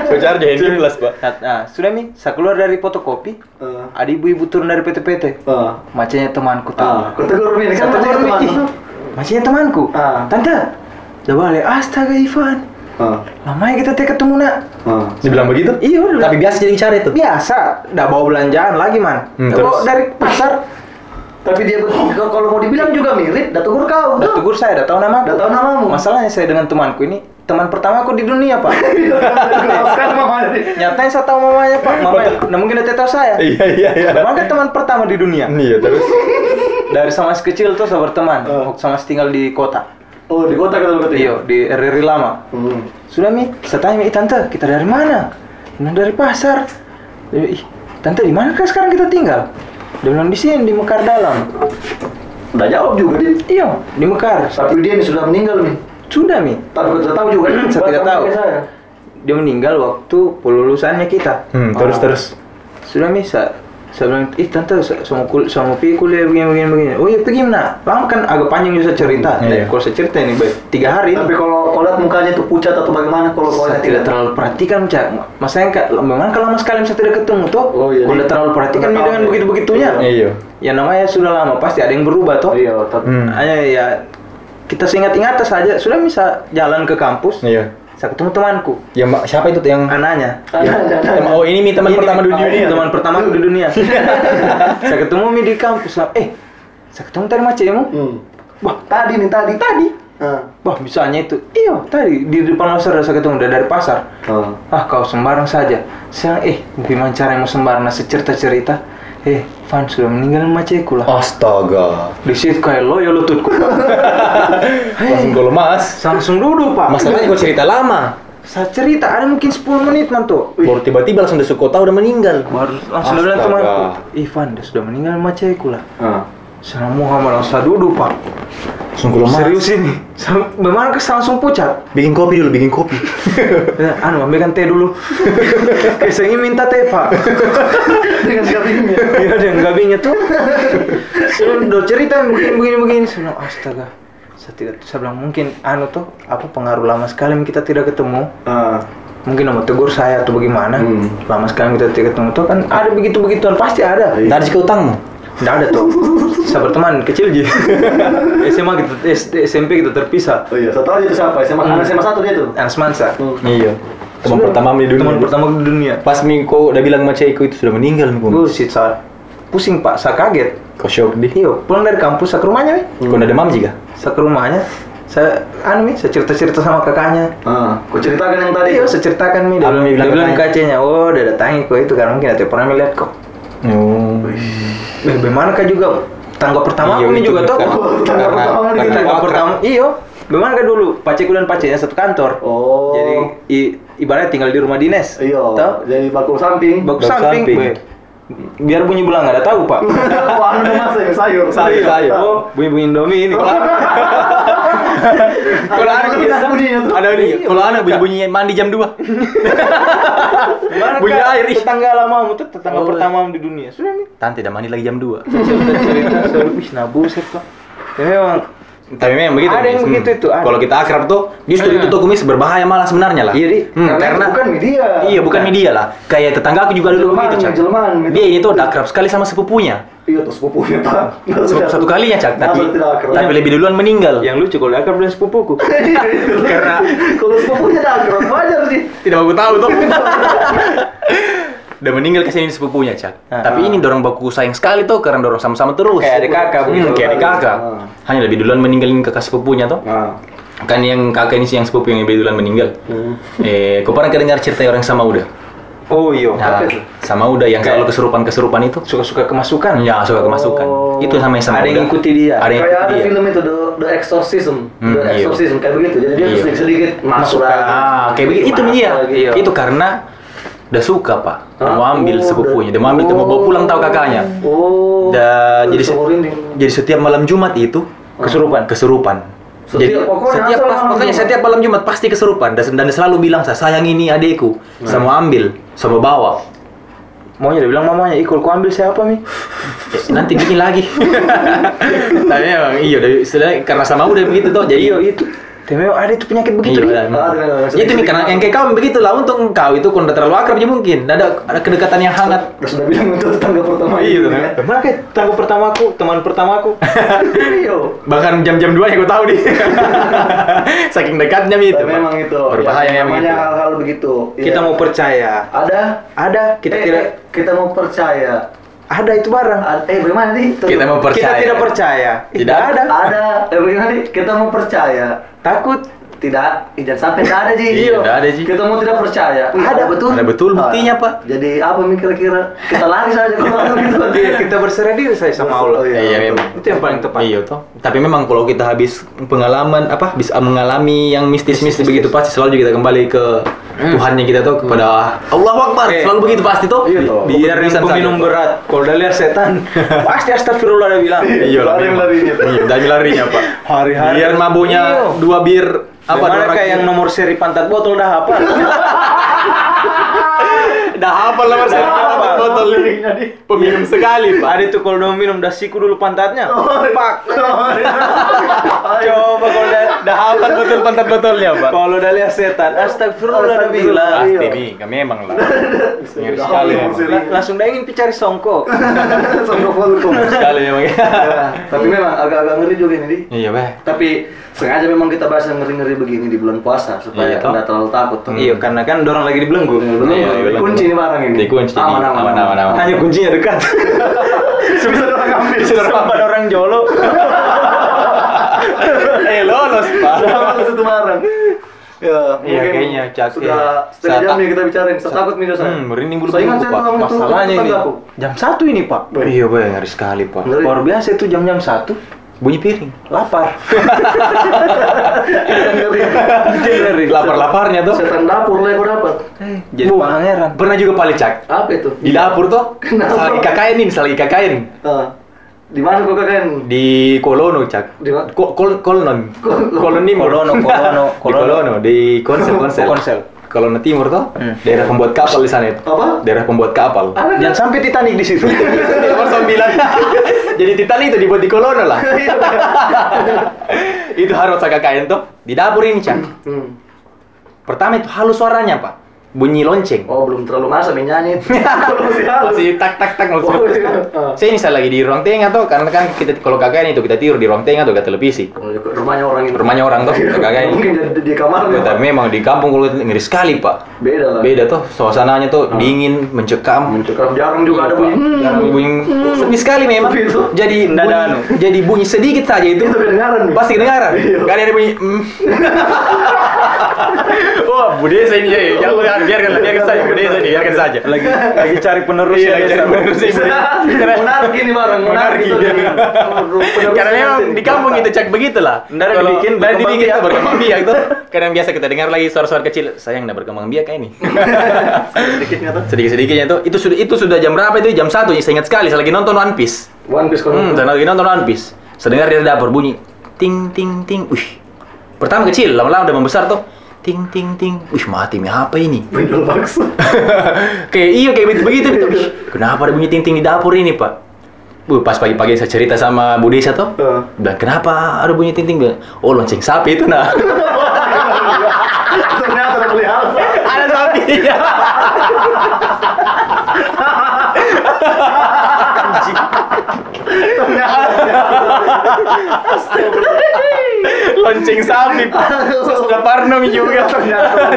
Kau cari di handphone jelas, Pak. Nah, nah, sudah mi, saya keluar dari fotokopi. Ah. Ada ibu-ibu turun dari PT-PT. Ah. Macanya temanku tuh. Ah, kau tegur Min. Saya Kan macam tegur, teman. "Ih, Macanya temanku. Ah. Tante, udah balik. Astaga Ivan. Ah. Lamanya kita tak ketemu nak. Ah. Dibilang begitu? Iya udah. Tapi biasa jadi cari tuh. biasa, nggak bawa belanjaan lagi man. Hmm, Nggak bawa terus? dari pasar. Tapi dia kalau mau dibilang juga mirip, dah tegur kau. Udah tegur saya, udah tahu nama. Udah tahu namamu. Masalahnya saya dengan temanku ini teman pertama aku di dunia pak. Sekarang mama ini. Nyatanya saya tahu mamanya pak. Mamanya, nah mungkin dia tahu saya. Iya, iya, iya. Maka teman pertama di dunia. Iya, terus. Dari sama si kecil tuh saya berteman. Eh. Waktu sama si tinggal di kota. Oh, di kota kita berarti. Iya, di RRI lama. Hmm. Sudah mi, saya tanya mi, "Ih, tante, kita dari mana? Dia bilang, dari pasar. Dia bilang, Ih, tante di mana kah sekarang kita tinggal? Dia bilang di sini di Mekar dalam. Udah jawab juga dia. Iya, di Mekar. Tapi dia ini sudah meninggal nih. Sudah mi. Tapi kita tahu juga. nih. Saya tidak Bahkan tahu. kayak saya. Dia meninggal waktu pelulusannya kita. Oh. Hmm, terus terus. Sudah mi, saya, saya bilang, ih tante, saya saya mau, kul saya mau pergi kuliah begini begini begini. Oh iya pergi nak. Lama kan agak panjang juga saya cerita. Iya. Dan Kalau saya cerita ini baik tiga hari. ini. Tapi kalau kau lihat mukanya tuh pucat atau bagaimana kalau kau saya lihat tidak terlalu perhatikan cak masa yang kak memang kalau mas kalian saya tidak ketemu toh Oh, iya. Kalau tidak terlalu perhatikan ini Tidak tahu, dengan iya. begitu begitunya Iya. ya namanya sudah lama pasti ada yang berubah toh Iya, tapi Hmm. hanya ya kita seingat ingat saja sudah bisa jalan ke kampus Iya. saya ketemu temanku Ya, Mbak, siapa itu tuh yang ananya Ya. Teman- Oh, ini ya? mi teman Ini pertama di teman- dunia. teman pertama di dunia saya ketemu mi di kampus eh saya ketemu tadi macemu Iya. Hmm. wah Tadi nih tadi. tadi Ah. wah misalnya itu iya tadi di depan pasar saya ketemu dari- dari pasar Ah. Ah kau sembarang saja. Saya eh gimana cara yang mau sembarang nah, cerita cerita. Eh Van sudah meninggal maceku lah. Oh. Astaga. Di situ kayak lo ya lututku. Hei, Langsung gol mas. langsung duduk pak. Masalahnya gue cerita lama. Saya cerita ada mungkin 10 menit mantu. Baru tiba-tiba langsung desuk kota udah meninggal. Baru langsung dia bilang Astaga. teman, Ivan dia sudah meninggal sama cewekku lah. Ah. Saya Muhammad langsung saya duduk pak. Langsung keluar mas. Serius ini, Saya- memang saya langsung pucat. Bikin kopi dulu, bikin kopi. Eh, anu ambilkan teh dulu. Kesengi minta teh pak. Dengan garingnya. Iya ada yang gabinya tuh. Saya udah cerita begini begini begini. Saya bilang, astaga. Saya tidak, saya bilang mungkin anu tuh apa pengaruh lama sekali kita tidak ketemu. Ah. mungkin nama tegur saya atau bagaimana Hmm. lama sekarang kita tidak ketemu tuh kan ada begitu begituan pasti ada Iya. Dari ke utangmu. tidak ada tuh saya berteman kecil ji SMA kita SD, SMP kita gitu, terpisah Oh iya, satu aja Hmm. itu siapa? SMA, anak SMA satu dia tuh. Anas Mansa Iya. Teman pertama di dunia. teman pertama di dunia Pas Miko udah bilang sama Ceko itu sudah meninggal Miko. bullshit saya pusing pak saya kaget Kau shock deh. iyo pulang dari kampus saya ke rumahnya nih Kau udah demam juga. saya ke rumahnya saya anu nih saya cerita cerita sama kakaknya Ah, kau ceritakan yang tadi. Iya, saya ceritakan nih. Dia Apa bilang, yang dia bilang bilang kakaknya? kacanya, oh, udah datangi kok itu karena mungkin ada pernah melihat kok. Oh. Eh, bagaimana kah juga tangga Iya, pertama aku ini juga tuh. Tangga pertama nih. Kita Karena yang pertama, iyo. Memang kan dulu paceku dan pacenya satu kantor. Oh. Jadi i- ibaratnya tinggal di rumah dinas. Iya, Tahu? jadi bakul samping. Baku Baku samping. samping. be. Biar bunyi belang nggak ada tahu pak. Wah, anu mas ya, sayur. Sayur, sayur. Oh. Oh, bunyi bunyi Indomie ini. Kalau anak kita bunyinya tuh. Ada nih, kalau anak bunyi-bunyinya mandi jam 2. Gimana Bunyi Kak? air, ih. Tetangga lamamu tuh tetangga Oh. pertamamu di dunia. Sudah nih. Tan tidak mandi lagi jam 2. Sudah cerita, sudah wih nabuset pak. Ya memang. Tapi memang begitu. Ada yang Mis. begitu itu, ada. Kalau kita akrab tuh, Iya. justru itu tuh kumis berbahaya malah sebenarnya lah. Iya, Di. Karena Hmm, karena, bukan media. Iya, bukan media lah. Kayak tetangga aku juga dulu Jelmaan, begitu, Cak. jelmaan gitu. Dia ini tuh udah akrab sekali sama sepupunya. Iya tuh sepupunya pak. Satu, satu kalinya, Cak, tapi Masa tidak akrab. tapi lebih duluan meninggal. Yang lucu kalau akrab dengan sepupuku. Karena kalau sepupunya tidak akrab wajar sih. Tidak mau tahu tuh. Udah meninggal kesini sepupunya, Cak. Ah. Tapi ini dorong baku sayang sekali tuh karena dorong sama-sama terus. Kayak adik kakak Hmm, begitu. kayak adik kakak. Ah. Hanya lebih duluan meninggalin kakak sepupunya tuh. Nah. Kan yang kakak ini sih yang sepupu yang lebih duluan meninggal. Eh, kau pernah kedengar cerita orang sama udah? Oh iyo. Nah, Apa itu? sama udah yang Kayak- selalu kesurupan-kesurupan itu. Suka-suka kemasukan. Ya, suka kemasukan. Oh. Itu sama yang sama Ada yang Uda. ngikuti dia. Ada Kayak yang ada ngikuti dia. film itu The, The Exorcism, Hmm, The iya. Exorcism kayak begitu. Jadi dia Iya. sedikit-sedikit masuk lagi. Ah, kayak begitu itu Masuk dia. lagi. iya. Itu kan. karena udah suka, Pak. Dia mau Ah, ambil oh, sepupunya, dia mau ambil, dia mau bawa oh. pulang tahu kakaknya. Oh. Dan jadi se- Semua rinding. jadi setiap malam Jumat itu Kesurupan. kesurupan. Oh. Setiap- pokoknya setiap asal pas- malam pokoknya Jumat. setiap malam Jumat pasti kesurupan dan, dan dia selalu bilang saya sayang ini adekku, Nah. saya mau ambil, saya mau bawa. Maunya dia bilang mamanya, ikut ku ambil siapa mi? Eh, nanti bikin lagi. Tapi emang iya udah sudah karena sama udah begitu tuh. Jadi Iyo itu. Tapi memang ada itu penyakit begitu Iya, nih. udah, Iya. emang. Ah, dengan- dengan- itu nih karena yang kayak kau begitu lah untung kau itu kau udah terlalu akrab aja mungkin Nggak ada ada kedekatan yang hangat Terus udah bilang untuk tetangga pertama Iya, itu, tetangga. ya. Mana kayak tangga pertamaku, teman pertamaku. Iya. bahkan jam-jam dua yang kau tahu nih saking dekatnya gitu Tapi memang itu. berbahaya yang memang namanya itu. hal-hal begitu. Kita Iya. mau percaya. ada Ada, kita eh, tidak eh, kita mau percaya. ada itu barang. Ad- eh bagaimana nih? Tuh. Kita mau per- Kita Percaya. tidak percaya. Eh, Tidak ada. ada eh bagaimana nih? Kita mau percaya. Takut. tidak eh, jangan sampai tidak ada ji Iya, tidak ada, Ji. Iya. kita mau tidak percaya Wih, Ada. betul Iya. Ada betul buktinya, Pak. jadi apa mi kira-kira kita lari saja kalau gitu Iya, kita berserah diri saya sama Allah. Oh, iya. Iya memang. Itu yang paling tepat. Iya toh. Tapi memang kalau kita habis pengalaman apa bisa mengalami yang mistis-mistis begitu pasti selalu kita kembali ke Tuhannya kita tuh kepada Allah Akbar. Eh. Selalu begitu pasti toh. Iya, toh. Biar yang Bisa peminum saja. berat, kalau udah lihat setan, pasti astagfirullah dia bilang. Iya lah. Lari yang memang. larinya. Iya, dari larinya, Pak. Hari-hari. Biar mabunya Iya. dua bir apa Apa dua Mana rak- kayak yang nomor seri pantat botol dah apa? dah apa lah Mas? Dah hafal. Apa botol ini? Peminum sekali, Pak. Ada itu kalau udah minum dah siku dulu pantatnya. Oh, iya. Pak. Coba Coba kalau udah Dah apa botol pantat botolnya, Pak? Kalau udah lihat setan, astagfirullah Nabi Astagfirullah. lah. Pasti Iya. nih, kami emang lah. Ngeri sekali ya. Iya. emang. Langsung dah ingin picari songko. Sekali emang. Ya, Tapi memang agak-agak ngeri juga ini di. Iya, Pak. Tapi sengaja memang kita bahas yang ngeri-ngeri begini di bulan puasa supaya Iya, toh. tidak terlalu takut. tuh. Iya, karena kan dorong lagi dibelenggu. Belum Iya, iya, belum. kunci ini barang ini. Dikunci ini. Aman aman Aman, aman, aman. Hanya kuncinya dekat. Bisa orang ambil. Sumpah orang jolo. Eh, lolos, Pak. Sama satu barang. Ya, mungkin Iya, kayaknya, Cak. sudah Iya. setengah Saya jam tak- nih kita bicarain. Saya takut nih dosa. Hmm, merinding bulu Saya ingat saya kuduk, Pak. tuh itu Masalahnya ini tetanggaku. jam satu ini pak. Iya, Pak, ngeri sekali, Pak. Ngeri. Luar biasa itu jam-jam satu. bunyi piring. lapar Lapar-laparnya tuh. Iya. Setan dapur lah yang gua dapat. Jadi Wah, pangeran. Pernah juga palicak. Apa itu? Di dapur tuh. Iya. Kenapa? Salah ikakain nih, salah ikakain. Ah. di mana kok kakek? Di Kolono, Cak. Di mana? Ko- kol Kolonon. Kol- Kolonimo. Kolono, Kolono, Di Kolono. Kolono, di Konsel, Konsel. Konsel. Kolono Timur tuh. Hmm. Daerah pembuat kapal di sana itu. Apa? Daerah pembuat kapal. jangan sampai Titanic di situ Nomor 9 Jadi Titanic itu dibuat di Kolono lah Iya. Itu harus agak kain tuh Di dapur ini Cak Hmm. Pertama itu halus suaranya Pak Bunyi lonceng Oh, belum terlalu masa menyanyi. Masih halus. Masih tak tak tak Oh, masih- iya. Ah. Saya ini saya lagi di ruang tengah tuh Karena kan kita kalau kakaknya itu kita tidur di ruang tengah tuh gak televisi Oh, Rumahnya orang itu. Rumahnya orang tuh kakaknya Mungkin di, di kamar. Tapi memang di kampung kalau ngeri sekali Pak Beda lah. Beda tuh suasananya tuh dingin, mencekam Mencekam jarang juga ada Iya, bunyi. hmm. Jarang bunyi sepi sekali memang. Sepi itu. Jadi Nggak ada bunyi, anu. jadi bunyi sedikit saja itu. Itu kedengaran nih. Pasti kedengaran. Iya. Gak ada bunyi. mm. Wah, budaya saya ini ya. Iya. Jangan biarkan, biarkan, biarkan saja. Budaya saya ini, biarkan saja. Iya, lagi lagi cari penerus Iya, ya, lagi Desa. cari penerus ini. Menarik ini barang, menarik Monarki. itu. jadi. Penerus Karena memang nanti. di kampung gitu. itu cak begitulah. Ntar Kalau- dibikin ntar berkembang dibikin biak. berkembang biak tuh. Karena yang biasa kita dengar lagi suara-suara kecil. Sayang, nah berkembang biak kayak ini. sedikitnya tuh. Sedikit-sedikitnya tuh. Itu sudah itu sudah jam berapa itu? Jam satu. Saya ingat sekali. Saya lagi nonton One Piece. One Piece Hmm, Konoha. dan lagi nonton One Piece. Sedengar dari dapur bunyi ting ting ting. Wih. Pertama kecil, lama-lama udah membesar tuh. Ting ting ting. Wih, mati nih apa ini? Bendol bakso. kayak iya kayak begitu begitu gitu. Wih, Kenapa ada bunyi ting ting di dapur ini, Pak? Bu, pas pagi-pagi saya cerita sama Bu Desa tuh. Heeh. Bilang, kenapa ada bunyi ting ting? Bilang, Oh, lonceng sapi itu nah. Ternyata ada pelihara. ada sapi. lonceng sapi, Pak. Saya sudah parno juga.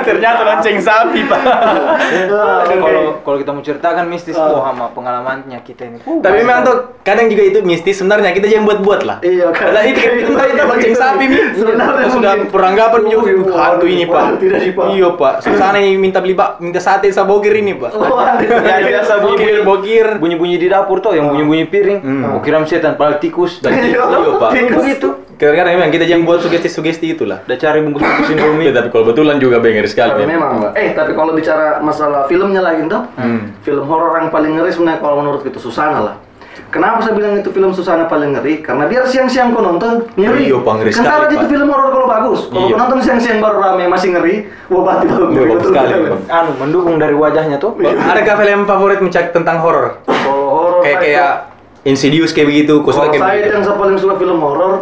Ternyata lonceng sapi, Pak. Ah, kalau kalau kita mau ceritakan mistis tuh Ah. sama pengalamannya kita ini Uh, Tapi memang tuh kadang juga itu mistis sebenarnya kita jangan buat-buat lah. Iya, kan. Karena itu itu itu lonceng sapi mi. Sebenarnya Terus Iya. sudah mungkin. peranggapan Waduh, juga "Duh, hantu ini waduh, pak. tidak sih, Pak. Iya pak. Susana yang minta beli pak minta sate sama bogir ini pak. Iya, Ya, biasa Iya, bogir bunyi bogir. bunyi-bunyi di dapur tuh yang bunyi-bunyi piring. Hmm. Gua kira setan padahal tikus dan Iya. Iya pak. Tikus. Begitu. Karena memang kita jangan buat sugesti-sugesti itulah. udah cari bungkus-bungkus Ya, Indomie. tapi kalau betulan juga bengir sekali. Tapi Pak. memang, Pak. Eh, tapi kalau bicara masalah filmnya lagi tuh, Hmm. film horor yang paling ngeri sebenarnya kalau menurut itu Susana lah. Kenapa saya bilang itu film Susana paling ngeri? Karena biar siang-siang kau nonton ngeri. Iya, Pak, ngeri Karena sekali, tadi itu Pak. film horor kalau bagus, kalau Iya. kau nonton siang-siang baru rame masih ngeri, wah berarti baru Iya, ngeri bagus betul. sekali, Pak. Anu mendukung dari wajahnya tuh. Adakah film favorit mencak tentang horor? Kalau horor Kayak iya. gitu. saya kayak Insidious kayak begitu, Kalau Kusuma saya kayak yang begitu. saya paling suka film horor,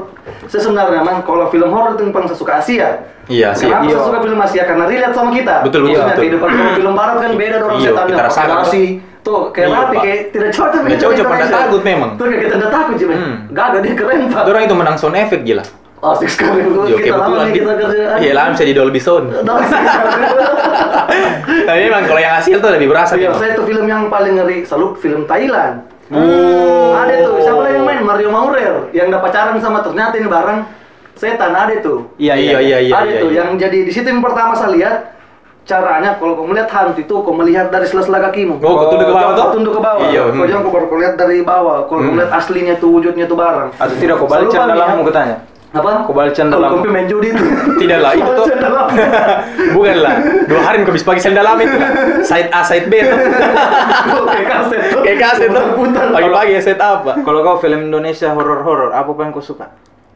saya sebenarnya memang kalau film horor itu yang paling saya suka Asia. Iya, Asia. Kenapa saya Iya. suka film Asia? Karena relate sama kita. Betul, betul, Maksudnya betul. Kehidupan kalau film barat kan beda dorong Iya, setannya. kita rasakan. populasi. Tuh, kayak Iya, rapi, Pak. kayak tidak cocok. Nggak gitu cocok, Indonesia. pada takut memang. Tuh, kayak kita tidak takut, Jimmy. Hmm. Gak ada, dia keren, Pak. Dorong itu menang sound effect gila. Asik sekali. Gua- Yo, Kita lama kebetulan nih, di- kita kerja. Iya, lah bisa di Dolby Sound. Dorong sekali. Tapi memang kalau yang hasil tuh lebih berasa. Iya, memang. saya itu film yang paling ngeri selalu film Thailand. Oh. Ada tuh, siapa lagi yang main? Mario Maurer yang udah pacaran sama ternyata ini bareng setan ada tuh. Iya, iya, iya, iya, ada iya, tuh iya. Nah, yang jadi di situ yang pertama saya lihat caranya kalau kamu melihat hantu itu kamu melihat dari sela-sela kakimu. Oh, kau tunduk ke bawah tuh? Kau tunduk ke bawah. Iya, Kau hmm. jangan kau baru kau lihat dari bawah. Kalau kau melihat aslinya tuh wujudnya tuh barang. Atau tidak kau balik Selalu dalam kami, mau ya. tanya. Apa? Kau balik dalam. Kalau kau main judi tuh. Tidak lah, itu tuh. Balacan dalam. Bukan lah. Dua hari habis pagi sel dalam itu. lah. Side A, side B. tuh. Kau Kayak kaset tuh. Kayak kaset tuh. Putar-putar. Pagi-pagi ya set apa? Kalau kau film Indonesia horor-horor, apa yang kau suka?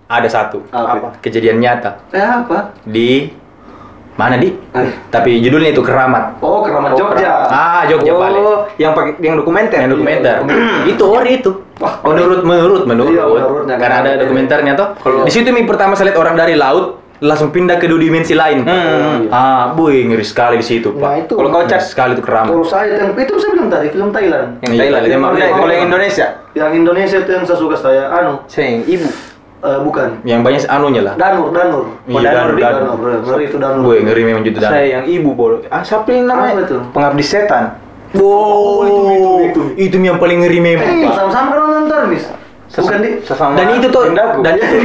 Ada satu. Apa? Kejadian nyata Eh apa? di mana di? Eh. Tapi judulnya itu keramat. Oh, keramat Oh, Jogja. Ah, Jogja balik. Oh, yang pakai yang dokumenter. Yang dokumenter. itu ori itu. Oh, Wah, ori. menurut menurut menurut. Iya, menurutnya. Karena ada dokumenternya toh. Kalau- Di situ mi pertama saya lihat orang dari laut langsung pindah ke dua dimensi lain. Hmm. Ah, boy ngeri sekali di situ, Pak. Iya. Nah, itu. Kalau kau cek sekali itu keramat. Kalau saya yang itu saya bilang tadi film Thailand. Yang Iya, Thailand. iya, Yang- iya. Kalau yang Indonesia, Yang Indonesia itu yang saya suka saya anu saya yang ibu. eh, bukan yang banyak anunya lah. Danur Danur. Iya, Danur, Danur. Ngeri itu Danur. Gue ngeri memang gitu Saya dan. yang ibu bol. Ah, siapa yang namanya? Apa itu? Pengabdi setan. Wow, Oh, itu, itu, itu. itu yang paling ngeri memang. Eh, Pak. sama-sama kan nonton Termis. Bukan di. Sesama Dan itu tuh Dindaku. dan itu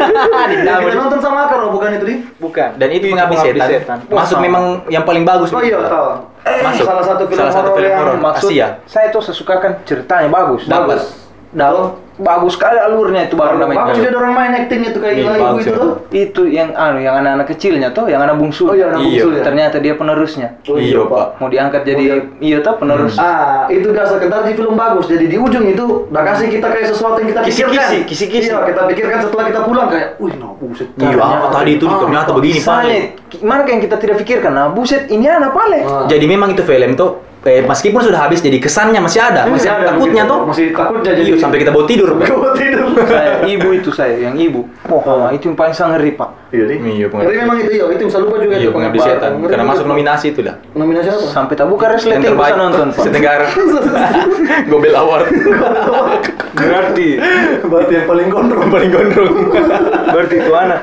Yang kita nonton sama akar oh, bukan itu di. bukan. dan itu mengabdi pengabdi setan. Masuk Wah, memang yang paling bagus. Oh begitu, iya, Pak. tahu. Masuk. Salah satu film Salah satu horor film yang horor. Maksud Asia. saya tuh sesukakan ceritanya bagus. Dapat. bagus. Daun. bagus sekali alurnya itu baru namanya Bagus juga ada orang main acting itu kayak Iya, gila ibu bagus itu ya. tuh. itu yang anu yang anak-anak kecilnya tuh yang anak bungsu Oh iya, anak Iya. bungsu ya. ternyata dia penerusnya Oh, Iya, Pak. mau diangkat jadi Oh, iya tuh penerus Hmm. Ah, itu dasar kentar di film bagus. Jadi di ujung itu udah kasih kita kayak sesuatu yang kita Kisi-kisi, pikirkan. kisi-kisi. Iya, kita pikirkan setelah kita pulang kayak, wih, nah buset. Iya, apa tadi itu ternyata begini, Pak. Misalnya, gimana kayak yang kita tidak pikirkan nah buset ini anak pale Ah. Jadi memang itu film tuh eh, meskipun sudah habis jadi kesannya masih ada, Masih masih, ada takutnya begitu. tuh. Masih takutnya jadi. Iya, sampai kita bawa tidur. Pak. Gua tidur. saya ibu itu saya yang ibu oh ah, itu yang paling sangat ngeri pak Iya, Di. Iya, pengabdi. Tapi memang itu, iya, itu bisa lupa juga Iya, itu pengabdi pengabdi. setan. Ngeri Karena juga. masuk nominasi itu lah. Nominasi apa? sampai tak buka Yang resleting terbaik bisa nonton pak setenggara. Gobel Award. berarti Berarti yang paling gondrong. Paling gondrong. berarti itu anak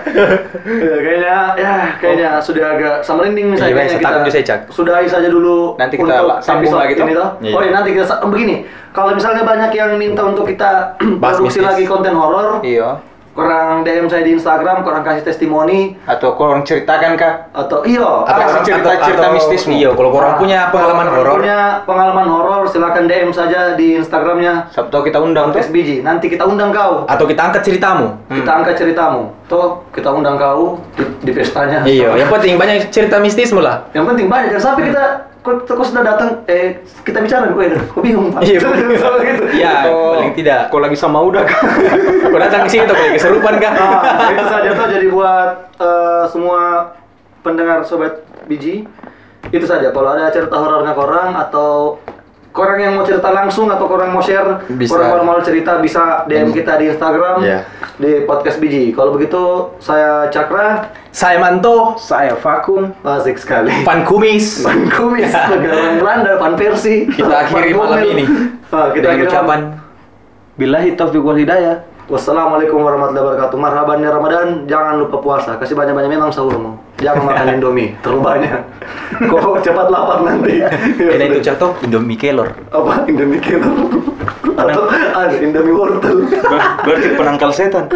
Ya, kayaknya ya kayaknya sudah agak summer ending Iya, misalnya Bang, saya takut saya cak. sudahi saja dulu Nanti kita untuk la- sambung episode lagi, toh. ini toh. Iya. Oh iya nanti kita sa- begini. Kalau misalnya banyak yang minta untuk kita Bahas produksi mistis. lagi konten horor, iya kurang DM saya di Instagram, kurang kasih testimoni atau kurang ceritakan kak atau iya. iyo Atau atau- cerita-cerita atau- mistismu. Iya, kalau orang punya pengalaman Kalau horor, punya pengalaman horor silakan DM saja di Instagramnya Sabtu kita undang tuh Podcast Biji. Nanti kita undang kau. atau kita angkat ceritamu. Kita angkat ceritamu. Toh kita undang kau di, di pestanya. Iya, yang penting banyak cerita mistismu lah. Yang penting banyak jangan sampai kita kok, kok sudah datang eh kita bicara gue kok bingung pak. Iya, Jangan sampai gitu. Iya, Atau- paling tidak. kok lagi sama udah kak Kau datang ke sini tuh kayak keserupan kah? Ah, itu saja tuh jadi buat eh, semua pendengar sobat biji itu saja kalau ada cerita horor nggak orang atau orang yang mau cerita langsung atau orang mau share Bisa. orang mau cerita bisa DM kita di Instagram Iya. di podcast biji kalau begitu saya Cakra Saya Manto, saya vakum asik sekali Pan Kumis. Van Kumis, negara Belanda, Van Persie. Iya. Kita akhiri Van malam Bommel. ini Ah, kita dengan akhiri ucapan billahi taufiq wal hidayah Wassalamualaikum warahmatullahi wabarakatuh. Marhaban ya Ramadan. Jangan lupa puasa. Kasih banyak-banyak memang sahur mau. Jangan makan Indomie terlalu banyak. Kok cepat lapar nanti. Ya Ini sudah. itu Carto Indomie Kelor. apa Indomie kilo atau ada Indomie wortel. berarti penangkal setan